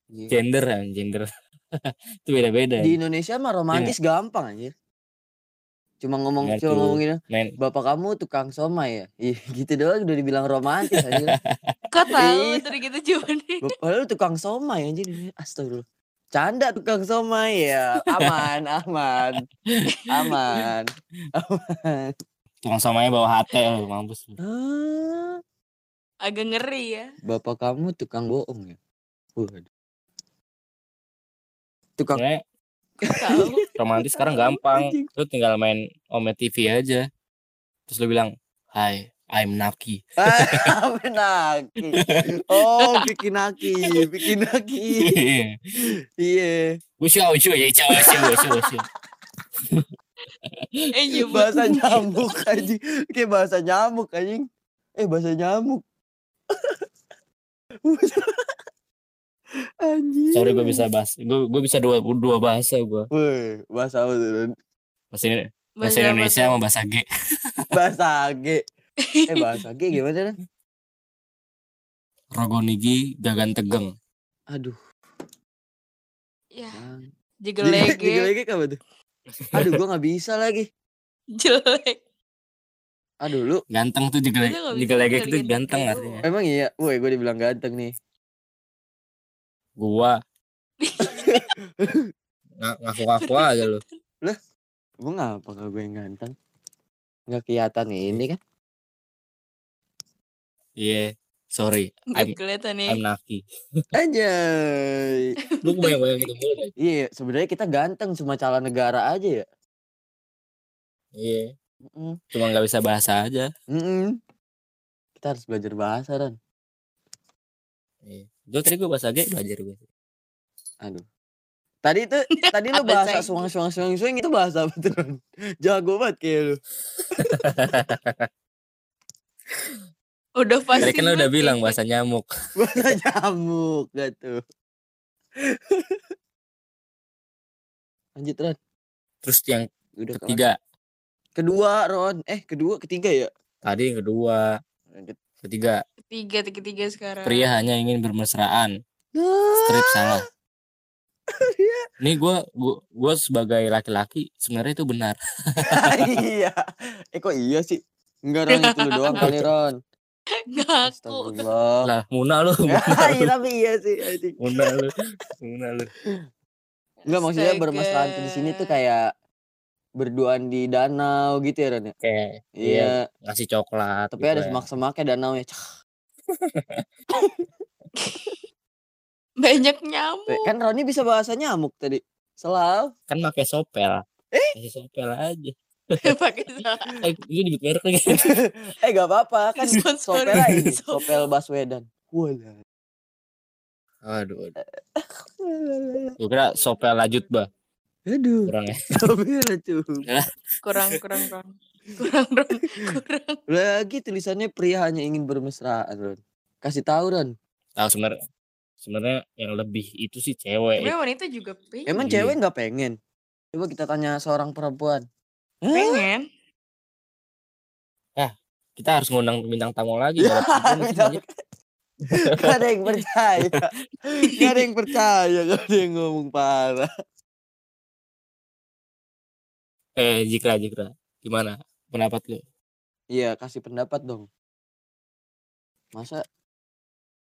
Speaker 2: Gila.
Speaker 3: gender kan gender itu beda-beda ya.
Speaker 2: Di Indonesia mah romantis gampang anjir. Cuma ngomong
Speaker 3: Bener
Speaker 2: cuma
Speaker 3: tuh.
Speaker 2: ngomongin
Speaker 3: men
Speaker 2: bapak kamu tukang somai ya. Ih, gitu doang udah dibilang romantis anjir.
Speaker 1: Kok tahu
Speaker 2: Iya.
Speaker 1: dari gitu jawabannya?
Speaker 2: Bapak lu tukang somai anjir. Astagfirullah. Canda tukang somai ya. Aman, aman. Aman. Aman.
Speaker 3: tukang samanya bawa HT lu, mampus lu.
Speaker 2: Ah,
Speaker 1: Agak ngeri ya.
Speaker 2: bapak kamu tukang bohong ya. Waduh. Tukang
Speaker 3: Sebenarnya
Speaker 1: Tahu.
Speaker 3: romantis sekarang gampang lu tinggal main Ome TV aja terus lu bilang hi I'm Naki
Speaker 2: Ah, Naki. Oh, bikin naki, bikin naki. Iya.
Speaker 3: Wushua, wushua, ya, wushua, wushua, wushua, wushua.
Speaker 1: eh nyebut.
Speaker 2: Bahasa nyamuk anjing. Kayak bahasa nyamuk anjing. Eh, bahasa nyamuk. anjing.
Speaker 3: sorry gue bisa bahas gue gue bisa dua dua bahasa gue
Speaker 2: Woi, bahasa apa tuh? Ron?
Speaker 3: bahasa, Indo- bahasa Indonesia sama bahasa G
Speaker 2: Bahasa G. Eh, bahasa G gimana, Ron?
Speaker 3: Rogonigi Gagan Tegeng
Speaker 2: Aduh.
Speaker 1: Ya,
Speaker 2: Bang.
Speaker 1: jelege,
Speaker 2: Digelege apa tuh? Aduh, gua nggak bisa lagi.
Speaker 1: jelek.
Speaker 2: Aduh, lu
Speaker 3: ganteng tuh
Speaker 1: Itu nggak
Speaker 3: digelek
Speaker 1: bisa
Speaker 3: digelegek
Speaker 1: dari
Speaker 3: itu
Speaker 1: Gagan
Speaker 3: ganteng
Speaker 1: Tegeng.
Speaker 3: artinya
Speaker 2: emang iya, woi gue dibilang ganteng nih.
Speaker 3: gua Nga- ngaku-ngaku aja lu
Speaker 2: Gue ngapa gak gue yang ganteng? Gak kelihatan ini kan?
Speaker 3: iya sorry I'm,
Speaker 1: kelihatan ya. nih.
Speaker 3: I'm Naki
Speaker 2: Anjay.
Speaker 3: lu kebayang-bayang gitu mulu deh
Speaker 2: Iya, sebenarnya kita ganteng cuma calon negara aja ya.
Speaker 3: iya
Speaker 2: Mm-mm.
Speaker 3: cuma nggak bisa bahasa aja
Speaker 2: Mm-mm. Kita harus belajar bahasa Ran.
Speaker 3: Iya. Gue tadi gue bahasa gay belajar gue.
Speaker 2: Aduh. Tadi itu tadi lu
Speaker 1: Apa,
Speaker 2: bahasa
Speaker 1: Ceng?
Speaker 2: suang suang suang suang itu bahasa apa tuh? Ran? Jago banget kayak lu.
Speaker 1: Udah pasti.
Speaker 3: Tadi kan lo udah
Speaker 1: banget
Speaker 3: bilang
Speaker 1: ya.
Speaker 3: bahasa nyamuk.
Speaker 2: Bahasa nyamuk gitu. Lanjut Ran.
Speaker 3: Terus yang
Speaker 2: Udah kelar.
Speaker 3: ketiga,
Speaker 2: Kedua Ron. Eh kedua ketiga ya.
Speaker 3: tadi yang kedua,
Speaker 2: Lanjut.
Speaker 3: ketiga,
Speaker 1: Tiga, tiga sekarang.
Speaker 3: pria hanya ingin bermesraan.
Speaker 2: Ah,
Speaker 3: Strip salah.
Speaker 2: Iya.
Speaker 3: Nih gua gua, gua sebagai laki-laki sebenarnya itu benar.
Speaker 2: iya. Eh kok iya sih? Enggak Ron itu lu doang kali Ron.
Speaker 1: Ngaku.
Speaker 2: Astagfirullah.
Speaker 3: Lah, muna lu, muna
Speaker 2: Iya,
Speaker 3: lu.
Speaker 2: tapi iya sih. anjing.
Speaker 3: Muna lu. Muna lu.
Speaker 2: Enggak maksudnya bermesraan tuh di sini tuh kayak berduaan di danau gitu ya Ron ya.
Speaker 3: Kayak
Speaker 2: Iya.
Speaker 3: ngasih coklat.
Speaker 2: Tapi
Speaker 3: gitu
Speaker 2: ada
Speaker 3: ya.
Speaker 2: semak-semaknya danau ya. Cah,
Speaker 1: Banyak nyamuk.
Speaker 2: Kan Roni bisa bahasa nyamuk tadi. Selalu.
Speaker 3: Kan pakai sopel.
Speaker 2: Eh?
Speaker 3: Kasih sopel aja.
Speaker 1: Pakai salah.
Speaker 3: Eh, ini di merek lagi.
Speaker 2: Eh gak apa-apa kan
Speaker 1: Disponsori.
Speaker 2: sopel aja ini.
Speaker 1: Sopel.
Speaker 2: Sopel Baswedan. Walah.
Speaker 3: Aduh, aduh. Gua kira sopel lanjut, Bah.
Speaker 2: Aduh.
Speaker 3: Kurang ya.
Speaker 2: Sopel tuh.
Speaker 1: Kurang, kurang, kurang. Kurang, kurang, kurang.
Speaker 2: Lagi tulisannya pria hanya ingin bermesraan Ron. Kasih tahu Ron.
Speaker 3: Tahu sebenarnya sebenarnya yang lebih itu sih cewek. gitu.
Speaker 1: Tapi wanita juga pengen.
Speaker 2: Emang
Speaker 3: Iya.
Speaker 2: cewek nggak pengen? Coba kita tanya seorang perempuan. Hah?
Speaker 1: Pengen.
Speaker 3: kita harus ngundang bintang tamu lagi
Speaker 2: Ya,
Speaker 3: kalau gitu
Speaker 2: bintang-
Speaker 3: nanti aja.
Speaker 2: Gak ada yang percaya. Gak ada yang percaya. Gak ada yang ngomong parah.
Speaker 3: eh Jikra Jikra gimana pendapat lu
Speaker 2: Iya kasih pendapat dong. Masa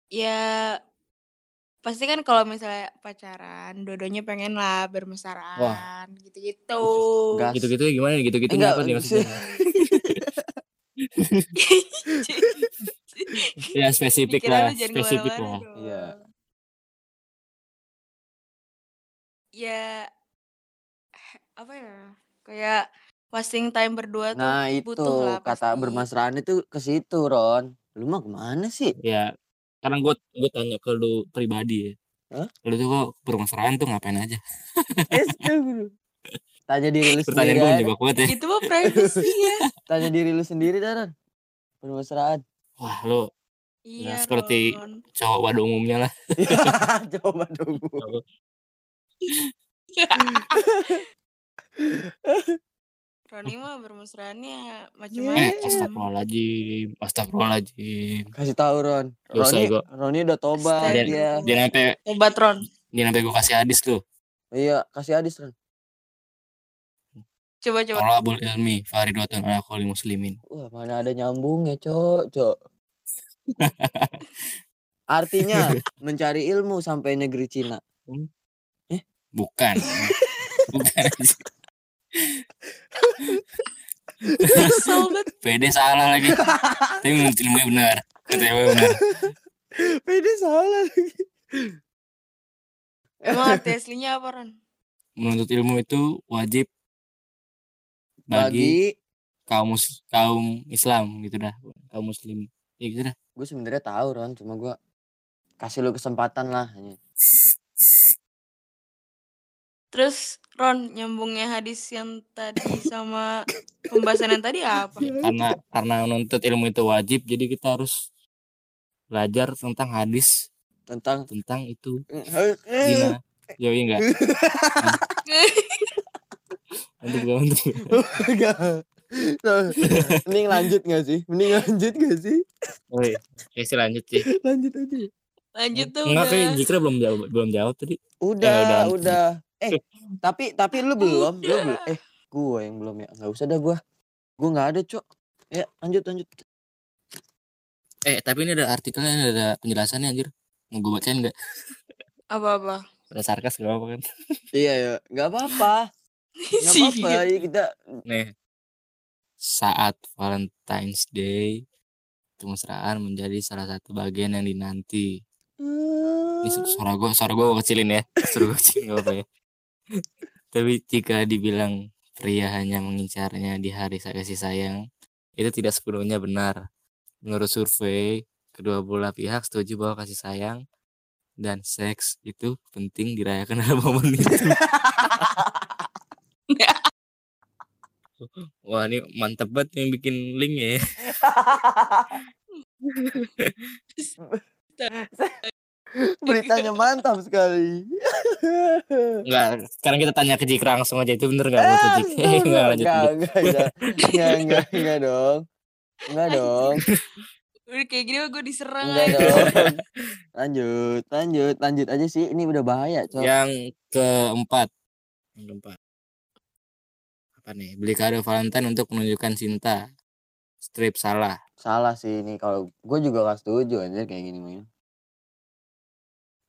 Speaker 1: Ya pasti kan kalau misalnya pacaran, dua-duanya pengen lah bermesraan gitu-gitu.
Speaker 2: Gas.
Speaker 3: gitu gitu gimana gitu gitu
Speaker 2: Enggak,
Speaker 3: apa sih maksudnya ya spesifik
Speaker 1: Pikiran
Speaker 3: lah
Speaker 1: lu jangan
Speaker 3: spesifik
Speaker 1: kemana-mana
Speaker 3: lah
Speaker 1: dong.
Speaker 2: Iya.
Speaker 1: Ya apa ya? Kayak wasting time berdua tuh.
Speaker 2: Nah itu
Speaker 1: butuh lah
Speaker 2: kata
Speaker 1: pasti.
Speaker 2: bermesraan itu ke situ Ron. Lu mah kemana sih?
Speaker 3: ya karena gue gue tanya ke lu pribadi ya
Speaker 2: Hah?
Speaker 3: lu tuh kok bermesraan tuh ngapain aja
Speaker 2: Tanya diri lu
Speaker 3: pertanyaan
Speaker 2: sendiri.
Speaker 3: gue
Speaker 2: aja.
Speaker 3: menjebak banget ya
Speaker 1: Itu gitu mah privacy ya.
Speaker 2: Tanya diri lu sendiri dah, Ron. Bermesraan.
Speaker 3: wah lu
Speaker 1: Iya.
Speaker 3: Nah, seperti-
Speaker 1: Ron.
Speaker 3: cowok pada umumnya lah
Speaker 2: Coba dong. Bu.
Speaker 1: Roni mah bermesraannya
Speaker 2: Iya.
Speaker 3: eh
Speaker 1: macam-macam.
Speaker 3: astagfirullahaladzim astagfirullahaladzim
Speaker 2: Kasih tahu Ron.
Speaker 3: Dosa
Speaker 2: Roni,
Speaker 3: gua.
Speaker 2: Roni udah tobat
Speaker 1: Astaga.
Speaker 2: dia.
Speaker 3: dia sampai
Speaker 1: Obat Ron.
Speaker 3: dia sampai gue kasih hadis tuh
Speaker 2: Iya, kasih hadis Ron.
Speaker 1: Coba coba.
Speaker 3: Tolabul ilmi faridotun ala kulli muslimin
Speaker 2: Wah, mana ada nyambungnya, Cok, Cok. Artinya mencari ilmu sampai negeri Cina.
Speaker 3: bukan bukan
Speaker 1: Kesel banget.
Speaker 3: PD salah lagi. Tapi menurut ilmu gue benar. Kata gue benar.
Speaker 2: Ini salah.
Speaker 1: Emang arti ya aslinya apa Ron?
Speaker 3: Menuntut ilmu itu wajib bagi,
Speaker 2: Bagi
Speaker 3: kaum mus- kaum Islam gitu dah, kaum muslim. Ya gitu dah.
Speaker 2: gue sebenarnya tahu Ron, cuma gue kasih lu kesempatan lah.
Speaker 1: Terus Ron nyambungnya hadis yang tadi sama pembahasan yang tadi apa?
Speaker 3: Karena karena menuntut ilmu itu wajib, jadi kita harus belajar tentang hadis
Speaker 2: Tentang Eh,
Speaker 3: tentang itu zina. Jauh enggak? Nanti gue nanti.
Speaker 2: Enggak. Tuh, Mending lanjut gak sih? Mending lanjut gak sih?
Speaker 3: Oke, ya, sih lanjut sih.
Speaker 2: Lanjut aja.
Speaker 1: Lanjut tuh.
Speaker 3: Enggak kayak
Speaker 1: udah.
Speaker 3: Jikra belum jawab belum jawab tadi.
Speaker 2: Udah,
Speaker 3: udah,
Speaker 2: udah.
Speaker 3: lanjut.
Speaker 2: Eh, tapi tapi lu belum, lu belum. Eh, gue yang belum ya. Enggak usah dah gue. Gue nggak ada, Cok. Ya, lanjut lanjut.
Speaker 3: Eh, tapi ini ada artikelnya, ada penjelasannya anjir. Mau gue bacain enggak?
Speaker 1: Apa-apa.
Speaker 3: Udah sarkas gak apa kan?
Speaker 2: Iya ya, nggak apa-apa. Nggak apa-apa, ya kita
Speaker 3: Nih. Saat Valentine's Day, kemesraan menjadi salah satu bagian yang dinanti.
Speaker 2: Eh.
Speaker 3: Ini
Speaker 2: Oh.
Speaker 3: su- suara gue, suara gue kecilin ya. Suara gue kecilin gak apa ya. Tapi jika dibilang pria hanya mengincarnya di hari sa- kasih sayang, itu tidak sepenuhnya benar. Menurut survei, kedua belah pihak setuju bahwa kasih sayang dan seks itu penting dirayakan dalam momen itu. Wah ini mantep banget yang bikin link ya.
Speaker 2: beritanya mantap sekali.
Speaker 3: Enggak, sekarang kita tanya ke Jikra langsung aja itu bener nggak buat
Speaker 2: Eh,
Speaker 3: Jik? Enggak lanjut.
Speaker 2: enggak,
Speaker 3: lanjut.
Speaker 2: enggak, enggak, enggak, enggak, enggak dong. Enggak dong,
Speaker 4: Udah kayak gini gue diserang
Speaker 2: enggak
Speaker 4: lagi.
Speaker 2: dong. Lanjut, lanjut, lanjut aja sih. Ini udah bahaya, Cok.
Speaker 3: Yang keempat, yang keempat. Apa nih? Beli kado Valentine untuk menunjukkan cinta. Strip salah.
Speaker 2: Salah sih ini kalau gue juga gak setuju anjir kayak gini main.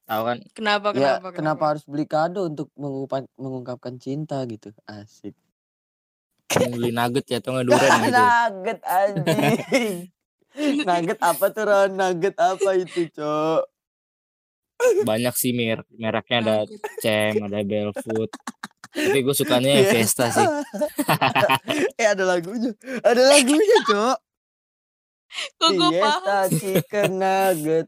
Speaker 3: Tahu kan?
Speaker 1: Kenapa,
Speaker 2: Ya,
Speaker 1: kenapa,
Speaker 2: kenapa, harus beli kado untuk mengungkap- mengungkapkan cinta gitu? Asik.
Speaker 3: Beli nugget ya atau nggak durian gitu.
Speaker 2: Nugget anjing. Nugget apa tuh Ron? Nugget apa itu, Cok?
Speaker 3: Banyak sih mer mereknya ada Cem, ada Belfood. Tapi gue sukanya yang
Speaker 2: Iya.
Speaker 3: Fiesta sih.
Speaker 2: eh ada lagunya. Ada lagunya, Cok.
Speaker 4: Kok gue
Speaker 2: Iya,
Speaker 4: paham?
Speaker 2: Fiesta chicken nugget.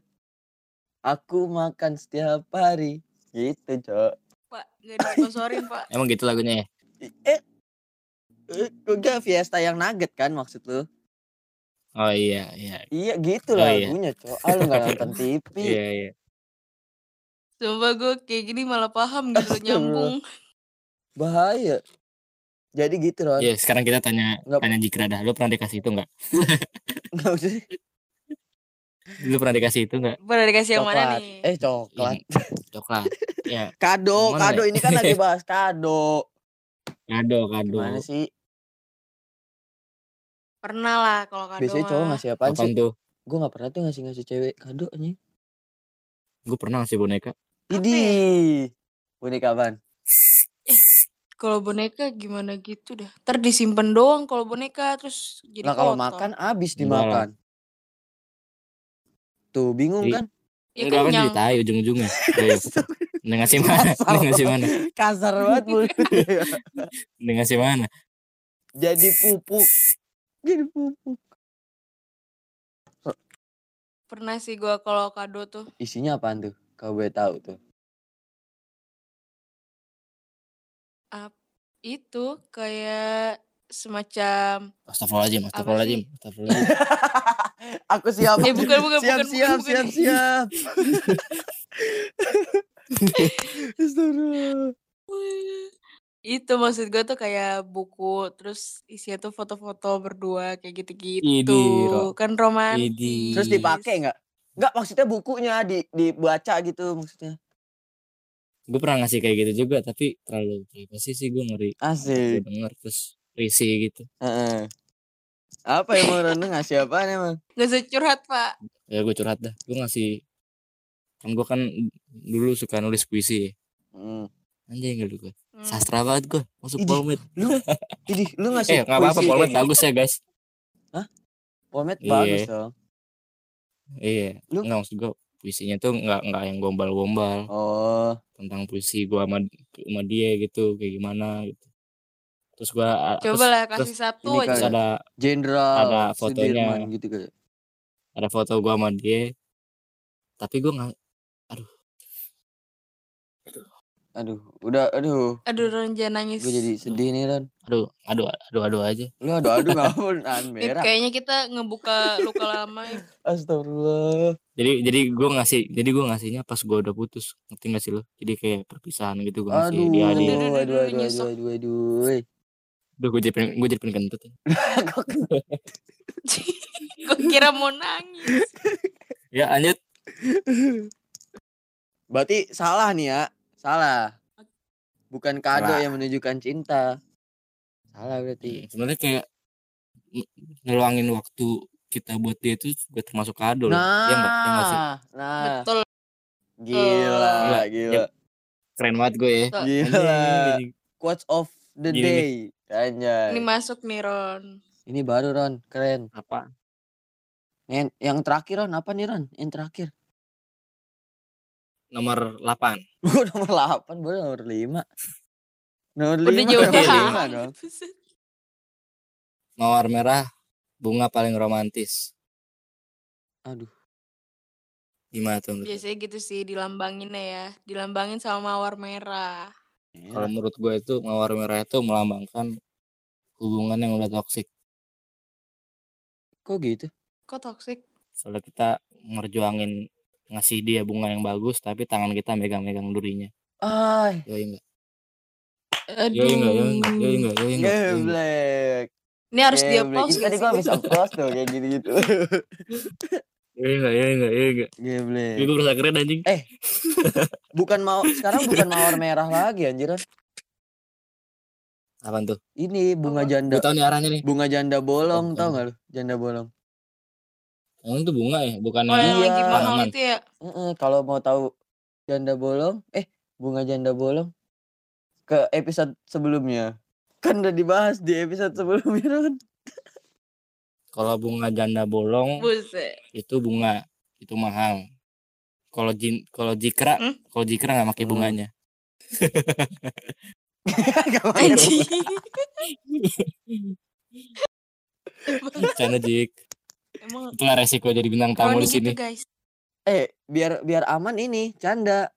Speaker 2: Aku makan setiap hari. Gitu, Cok.
Speaker 4: Pak, gak disponsorin pak.
Speaker 3: Emang gitu lagunya ya?
Speaker 2: Eh, eh, enggak Fiesta yang nugget kan maksud lu?
Speaker 3: Oh iya, iya.
Speaker 2: Iya gitu
Speaker 3: Oh, iya.
Speaker 2: lagunya cok. Ah lu gak nonton TV.
Speaker 3: Iya, iya.
Speaker 4: Coba gue kayak gini malah paham gitu
Speaker 2: Astagfirullah.
Speaker 4: nyambung.
Speaker 2: Bahaya. Jadi gitu Ron.
Speaker 3: Iya, sekarang kita tanya
Speaker 2: Nggak-
Speaker 3: tanya Jikra dah. Lu pernah dikasih itu nggak?
Speaker 2: Nggak usah.
Speaker 3: Lu pernah dikasih itu nggak?
Speaker 4: Pernah dikasih yang mana
Speaker 2: Coklat.
Speaker 4: nih?
Speaker 2: Eh coklat.
Speaker 3: coklat ya
Speaker 2: Kado,
Speaker 3: Gimana
Speaker 2: kado
Speaker 3: ya?
Speaker 2: ini kan lagi bahas kado.
Speaker 3: kado kado
Speaker 2: Gimana sih?
Speaker 1: Pernah lah kalau kado
Speaker 2: Biasanya cowok
Speaker 1: mah.
Speaker 2: ngasih apaan
Speaker 3: apaan
Speaker 2: sih?
Speaker 3: tuh
Speaker 2: Gue gak pernah tuh ngasih-ngasih cewek kado anjing.
Speaker 3: gue pernah ngasih boneka
Speaker 2: Idi.
Speaker 4: ya?
Speaker 2: Boneka apaan?
Speaker 1: Eh, Kalau boneka gimana gitu dah. Ntar disimpan doang kalau boneka terus jadi
Speaker 2: Nah kalau
Speaker 1: kotor.
Speaker 2: makan abis
Speaker 3: Enggak lah.
Speaker 2: dimakan. Tuh bingung
Speaker 3: Jadi-
Speaker 2: kan?
Speaker 1: Ya
Speaker 3: enggak kan
Speaker 1: kenyang.
Speaker 3: jadi tai ujung ujungnya Neng ngasih mana Neng ngasih mana
Speaker 2: Kasar banget mulutnya.
Speaker 3: Neng ngasih mana
Speaker 2: Jadi pupuk. Jadi pupuk.
Speaker 1: Pernah sih gua kalau kado tuh.
Speaker 2: Isinya apaan tuh? Kau boleh tahu tuh.
Speaker 1: Itu kayak semacam
Speaker 3: Astagfirullahaladzim Astagfirullahaladzim Astagfirullahaladzim
Speaker 2: Aku siap.
Speaker 1: Eh bukan bukan
Speaker 2: siap,
Speaker 1: bukan
Speaker 2: siap,
Speaker 1: bukan, bukan.
Speaker 2: siap, siap, Astagfirullah.
Speaker 1: Itu maksud gua tuh kayak buku terus isinya tuh foto-foto berdua kayak gitu-gitu.
Speaker 3: Idi, Ro.
Speaker 1: Kan
Speaker 3: Idi.
Speaker 1: romantis.
Speaker 2: Terus dipakai nggak? Nggak maksudnya bukunya di dibaca gitu maksudnya.
Speaker 3: gue pernah ngasih kayak gitu juga tapi terlalu privasi sih gue ngeri gue
Speaker 2: Asik.
Speaker 3: denger terus risih gitu
Speaker 2: Heeh. Apa emang Rono ngasih apaan emang?
Speaker 1: Gak usah curhat, Pak.
Speaker 3: ya gue curhat dah gue ngasih kan gue kan dulu suka nulis puisi ya.
Speaker 2: Hmm.
Speaker 3: anjay nggak gue
Speaker 1: Hmm.
Speaker 3: sastra banget gue masuk
Speaker 2: Idi.
Speaker 3: polmed
Speaker 2: Jadi lu
Speaker 3: eh
Speaker 2: ngasih
Speaker 3: nggak apa-apa
Speaker 2: puisi
Speaker 3: polmed
Speaker 2: kayak gitu?
Speaker 3: bagus ya guys
Speaker 2: Polmed
Speaker 3: Iya.
Speaker 2: bagus dong.
Speaker 3: Iya,
Speaker 2: Lu-
Speaker 3: nggak maksud gue puisinya tuh nggak nggak yang gombal-gombal
Speaker 2: Oh,
Speaker 3: tentang puisi gua sama, sama dia gitu kayak gimana gitu. Terus gua a-
Speaker 1: Coba
Speaker 3: terus,
Speaker 1: lah kasih satu
Speaker 2: ini
Speaker 1: aja.
Speaker 3: terus
Speaker 2: kali.
Speaker 3: ada
Speaker 2: jenderal
Speaker 3: Ada fotonya.
Speaker 2: Sudirman gitu kayak.
Speaker 3: ada foto gua sama dia. Tapi gua nggak
Speaker 2: Aduh, udah aduh,
Speaker 1: Aduh, Ron jangan nangis. Eh,
Speaker 2: gue jadi sedih nih Ron.
Speaker 3: aduh aduh aduh aduh aja.
Speaker 2: Lu aduh aduh ngapun nahan
Speaker 1: Beb,
Speaker 2: merah.
Speaker 1: kayaknya kita ngebuka luka lama ya.
Speaker 2: Astagfirullah.
Speaker 3: Jadi jadi gua ngasih jadi gua ngasihnya pas gua udah putus. Ngerti gak sih lo? Jadi kayak perpisahan gitu gua ngasih
Speaker 2: Aduh,
Speaker 3: dia
Speaker 2: aduh,
Speaker 3: dia.
Speaker 1: Aduh,
Speaker 2: aduh,
Speaker 1: aduh,
Speaker 2: aduh, aduh,
Speaker 1: nyesek.
Speaker 2: aduh, aduh.
Speaker 3: Aduh gua jadi pengen- gua jadi pengen kentut. ya.
Speaker 1: Gue kira mau nangis.
Speaker 3: Ya lanjut.
Speaker 2: Berarti salah nih ya, salah. Bukan kado
Speaker 3: Salah. Iya.
Speaker 2: yang menunjukkan cinta. Salah berarti.
Speaker 3: Sebenarnya kayak n- ngeluangin waktu kita buat dia itu juga termasuk Iya,
Speaker 2: Ah.
Speaker 3: kado loh. Iya nggak? Iya nggak sih?
Speaker 2: Nah, nah,
Speaker 1: Betul.
Speaker 3: Iya,
Speaker 2: gila,
Speaker 3: Gila,
Speaker 2: gila.
Speaker 3: Keren banget gue ya.
Speaker 2: Iya Gila.
Speaker 3: Anjing,
Speaker 2: Quotes of the
Speaker 3: Gini nih.
Speaker 2: day.
Speaker 4: Ini
Speaker 2: Anjay.
Speaker 4: masuk nih Ron.
Speaker 2: Ini baru Ron, keren.
Speaker 3: Apa?
Speaker 2: Nen, yang terakhir Ron, apa nih Ron? Yang terakhir.
Speaker 3: Nomor 8.
Speaker 2: Gue nomor 8, baru nomor 5. Nomor 5.
Speaker 4: Udah jauh ya?
Speaker 2: nomor
Speaker 3: banget.
Speaker 2: lima dong.
Speaker 4: banget.
Speaker 3: Mawar merah, bunga paling romantis.
Speaker 2: Aduh.
Speaker 3: Gimana tuh? menurut lu?
Speaker 4: Biasanya gitu sih dilambangin ya, dilambangin sama mawar merah.
Speaker 3: Kalau menurut gue itu mawar merah itu melambangkan hubungan yang udah toksik.
Speaker 2: Kok gitu?
Speaker 4: Kok toksik?
Speaker 3: Soalnya kita ngerjuangin ngasih dia bunga yang bagus tapi tangan kita megang-megang durinya.
Speaker 2: Ay,
Speaker 3: Yoi enggak?
Speaker 4: Aduh.
Speaker 3: Yoi enggak? Yoi enggak? Yoi enggak? Yoi enggak? Yoi enggak?
Speaker 2: geblek.
Speaker 4: Ini iya. harus dia
Speaker 2: geblek.
Speaker 4: post
Speaker 2: Itu Iya, tadi gue habis applause tuh kayak gitu-gitu.
Speaker 3: Yoi enggak? Yoi enggak? Yoi enggak? Yoi,
Speaker 2: Geblek.
Speaker 3: Gue berasa keren anjing.
Speaker 2: Bukan mau sekarang bukan mawar merah lagi anjir. Ron.
Speaker 3: Apaan tuh?
Speaker 2: Ini bunga
Speaker 4: Apa?
Speaker 2: janda
Speaker 3: Gue tau nih arahnya nih.
Speaker 2: bunga janda bolong
Speaker 3: Bukan.
Speaker 2: tau gak lu? Janda bolong.
Speaker 3: Emang itu bunga ya? Bukan
Speaker 4: Oh, yang lagi
Speaker 2: Iya.
Speaker 4: mahal
Speaker 3: Tanaman.
Speaker 4: itu ya.
Speaker 2: Mm-mm, kalau mau tahu janda bolong, eh bunga janda bolong ke episode sebelumnya. Kan udah dibahas di episode sebelumnya kan.
Speaker 3: kalau bunga janda bolong
Speaker 4: Buset.
Speaker 3: itu bunga itu mahal. Kalau jin kalau jikra,
Speaker 4: Hmm?
Speaker 3: kalau jikra nggak pakai
Speaker 2: Hmm.
Speaker 3: bunganya.
Speaker 2: Gak pakai
Speaker 4: Anjing.
Speaker 3: Canda jik.
Speaker 4: Emang
Speaker 3: Itulah resiko jadi bintang tamu
Speaker 4: Roni
Speaker 3: di sini.
Speaker 4: gitu guys.
Speaker 2: Eh, biar biar aman ini, canda.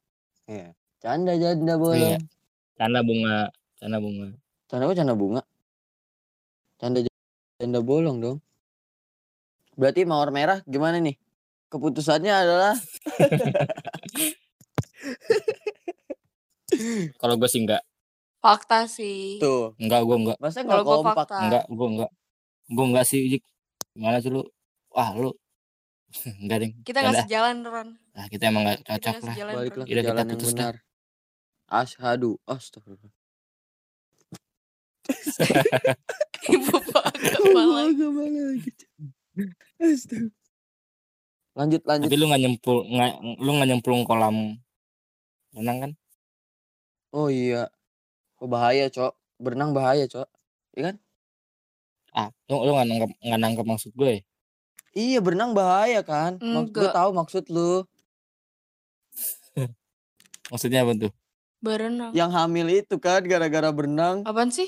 Speaker 2: Iya. Canda janda bolong.
Speaker 3: Iya. Canda bunga, canda bunga.
Speaker 2: Canda kok canda bunga? Canda j- janda bolong dong. Berarti mawar merah gimana nih? Keputusannya adalah
Speaker 3: Kalau gue sih enggak.
Speaker 4: Fakta
Speaker 1: Iya.
Speaker 4: sih.
Speaker 2: tuh.
Speaker 3: Enggak, gue enggak.
Speaker 2: Masa
Speaker 4: Kalau
Speaker 2: nggak
Speaker 4: gue
Speaker 2: kompak?
Speaker 1: Ah.
Speaker 4: fakta.
Speaker 3: Enggak, gue enggak. Gue enggak sih, Jik. Gimana sih lu? Wah, lu. enggak, Ding.
Speaker 4: Kita nggak
Speaker 3: Yalah.
Speaker 4: sejalan Ron.
Speaker 3: Nah, kita emang enggak
Speaker 4: Kita
Speaker 3: cocok
Speaker 4: nggak
Speaker 3: lah.
Speaker 4: sejalan. Ron.
Speaker 2: Baliklah ke
Speaker 3: Yaudah, kita
Speaker 2: jalan yang
Speaker 3: putus dah.
Speaker 2: benar. Ashadu. Astagfirullah.
Speaker 4: Ibu Pak agama lagi.
Speaker 2: lanjut lanjut
Speaker 3: Tapi lu enggak nyempul, nggak lu enggak nyemplung kolam renang kan?
Speaker 2: oh iya oh, bahaya cok berenang bahaya cok
Speaker 3: Ah, lu lu enggak nangkep enggak nangkep maksud gue. ya?
Speaker 2: iya berenang bahaya kan Mak- gue
Speaker 4: Enggak.
Speaker 2: tahu maksud lu
Speaker 3: Maksudnya apa tuh?
Speaker 4: Berenang.
Speaker 2: yang hamil itu kan gara-gara berenang
Speaker 4: Apaan sih?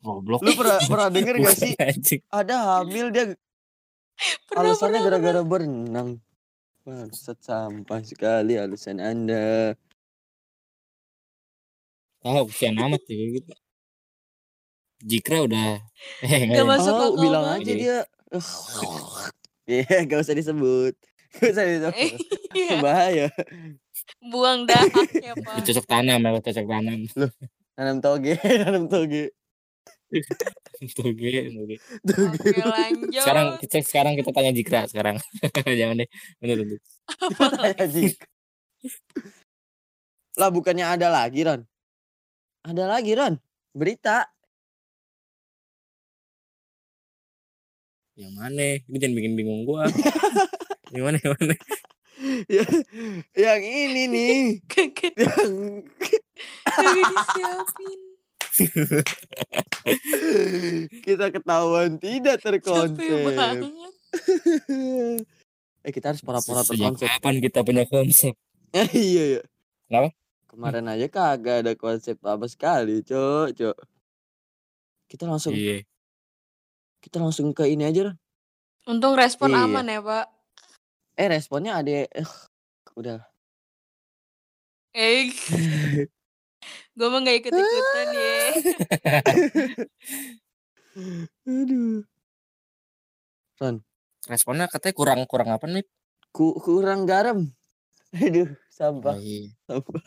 Speaker 3: Goblok.
Speaker 2: lu pernah pernah denger gak sih
Speaker 3: Bukan, anjing.
Speaker 2: ada hamil dia
Speaker 4: Pernah,
Speaker 2: alasannya
Speaker 4: pernah,
Speaker 2: gara-gara berenang Bangsat sampah sekali alasan anda
Speaker 3: Tahu kesian amat sih kayak gitu. Jikra udah eh
Speaker 4: Gak
Speaker 3: enggak.
Speaker 4: masuk
Speaker 2: Oh
Speaker 4: akal
Speaker 2: bilang
Speaker 4: banget.
Speaker 2: aja dia Iya gak usah disebut Gak usah disebut
Speaker 4: Iya.
Speaker 2: Bahaya
Speaker 4: Buang dahak ya
Speaker 3: Lu
Speaker 4: Pak.
Speaker 3: cocok tanam, ya, lu cocok tanam.
Speaker 2: Nanam toge Nanam toge
Speaker 3: Toge, toge.
Speaker 4: Oke lanjut.
Speaker 3: Sekarang kita sekarang kita tanya Jikra sekarang. Jangan deh. Bener bener.
Speaker 2: Anjing. lah bukannya ada lagi Ron Ada lagi Ron Berita
Speaker 3: Yang mana? Lu jangan bikin bingung gua. Yang mana? Yang mana?
Speaker 2: Ya, Yang ini nih
Speaker 4: Kagak
Speaker 2: Yang
Speaker 4: kagak disiapin.
Speaker 2: Kita ketahuan tidak
Speaker 4: Capek
Speaker 2: terkonsep
Speaker 4: banget.
Speaker 2: Eh kita harus pora-pora
Speaker 3: Sejak
Speaker 2: terkonsep
Speaker 3: kapan kita punya konsep?
Speaker 2: Eh, iya iya.
Speaker 3: Kenapa?
Speaker 2: Kemarin aja kagak ada konsep apa sekali, cok, cok. Kita langsung
Speaker 3: Iya.
Speaker 2: kita langsung ke ini aja. Ron.
Speaker 4: Untung respon
Speaker 2: Iya.
Speaker 4: aman ya Pak.
Speaker 2: Eh responnya ada eh, udah.
Speaker 4: Eh, gue mah gak ikut ikutan ya.
Speaker 2: Aduh.
Speaker 3: Responnya katanya kurang kurang apa nih?
Speaker 2: Ku- kurang garam. Aduh,
Speaker 3: Oh,
Speaker 2: sampah,
Speaker 3: iya.
Speaker 2: sampah. Sampah.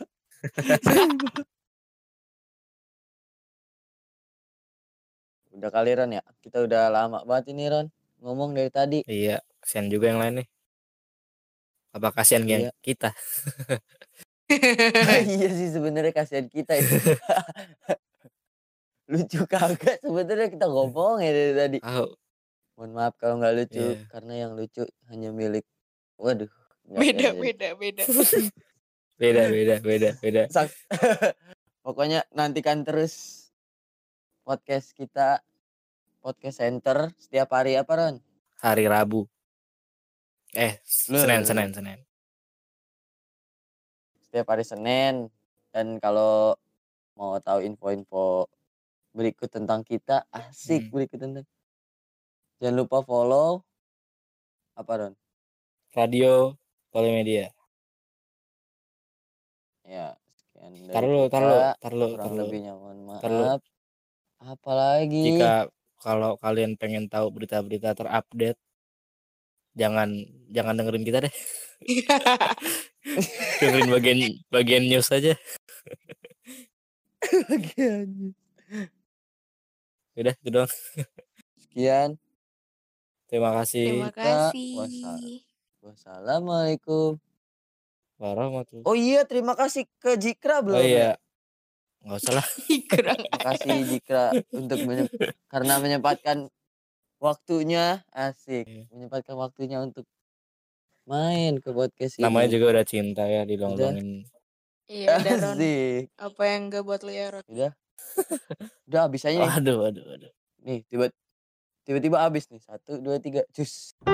Speaker 2: udah kali Ron ya. Kita udah lama banget ini Ron ngomong dari tadi.
Speaker 3: Iya, kasihan juga yang lain nih. Apa kasihan yang kita?
Speaker 2: iya sih sebenarnya kasihan kita itu. lucu kagak sebenarnya kita ngomong ya dari tadi.
Speaker 3: Tahu.
Speaker 2: Mohon maaf kalau nggak lucu
Speaker 3: Iya.
Speaker 2: Iya, karena yang lucu hanya milik. Waduh. nggak- nggak
Speaker 4: Beda
Speaker 2: jadi.
Speaker 4: beda beda.
Speaker 3: beda beda beda beda
Speaker 2: Sak- Pokoknya nantikan terus podcast kita podcast center setiap hari apa Ron?
Speaker 3: hari Rabu eh
Speaker 2: Lu-
Speaker 3: Senin Senin Senin
Speaker 2: Setiap hari Senin dan kalau mau tahu info-info berikut tentang kita asik
Speaker 3: Hmm.
Speaker 2: berikut tentang jangan lupa follow apa Ron?
Speaker 3: radio Polimedia
Speaker 2: Ya sekian dari
Speaker 3: taruh lu
Speaker 2: kita.
Speaker 3: taruh lu taruh lu
Speaker 2: kurang
Speaker 3: taruh lu.
Speaker 2: lebihnya mohon maaf.
Speaker 3: Ntar lu.
Speaker 2: Apalagi
Speaker 3: jika kalau kalian pengen tahu berita-berita terupdate jangan jangan dengerin kita deh dengerin bagian bagian news aja udah itu doang
Speaker 2: sekian
Speaker 3: terima kasih
Speaker 1: Terima
Speaker 2: Kita
Speaker 1: kasih.
Speaker 2: Wassalamualaikum.
Speaker 3: warahmatullahi
Speaker 2: Oh iya, terima kasih ke Jikra belum.
Speaker 3: oh
Speaker 2: ya?
Speaker 3: iya nggak usah lah
Speaker 4: kurang
Speaker 2: Terima kasih Jikra untuk menye- karena menyempatkan waktunya asik,
Speaker 3: Iya.
Speaker 2: menyempatkan waktunya untuk main ke podcast ini.
Speaker 3: namanya juga udah cinta ya dilonglongin
Speaker 1: Iya, udah, Ron.
Speaker 2: asik.
Speaker 4: apa yang gak buat lo ya Ron?
Speaker 2: Udah
Speaker 3: Oh,
Speaker 2: habis aja nih.
Speaker 3: aduh aduh aduh
Speaker 2: Nih, tiba tiba-tiba habis nih. Satu, dua, tiga. Cus.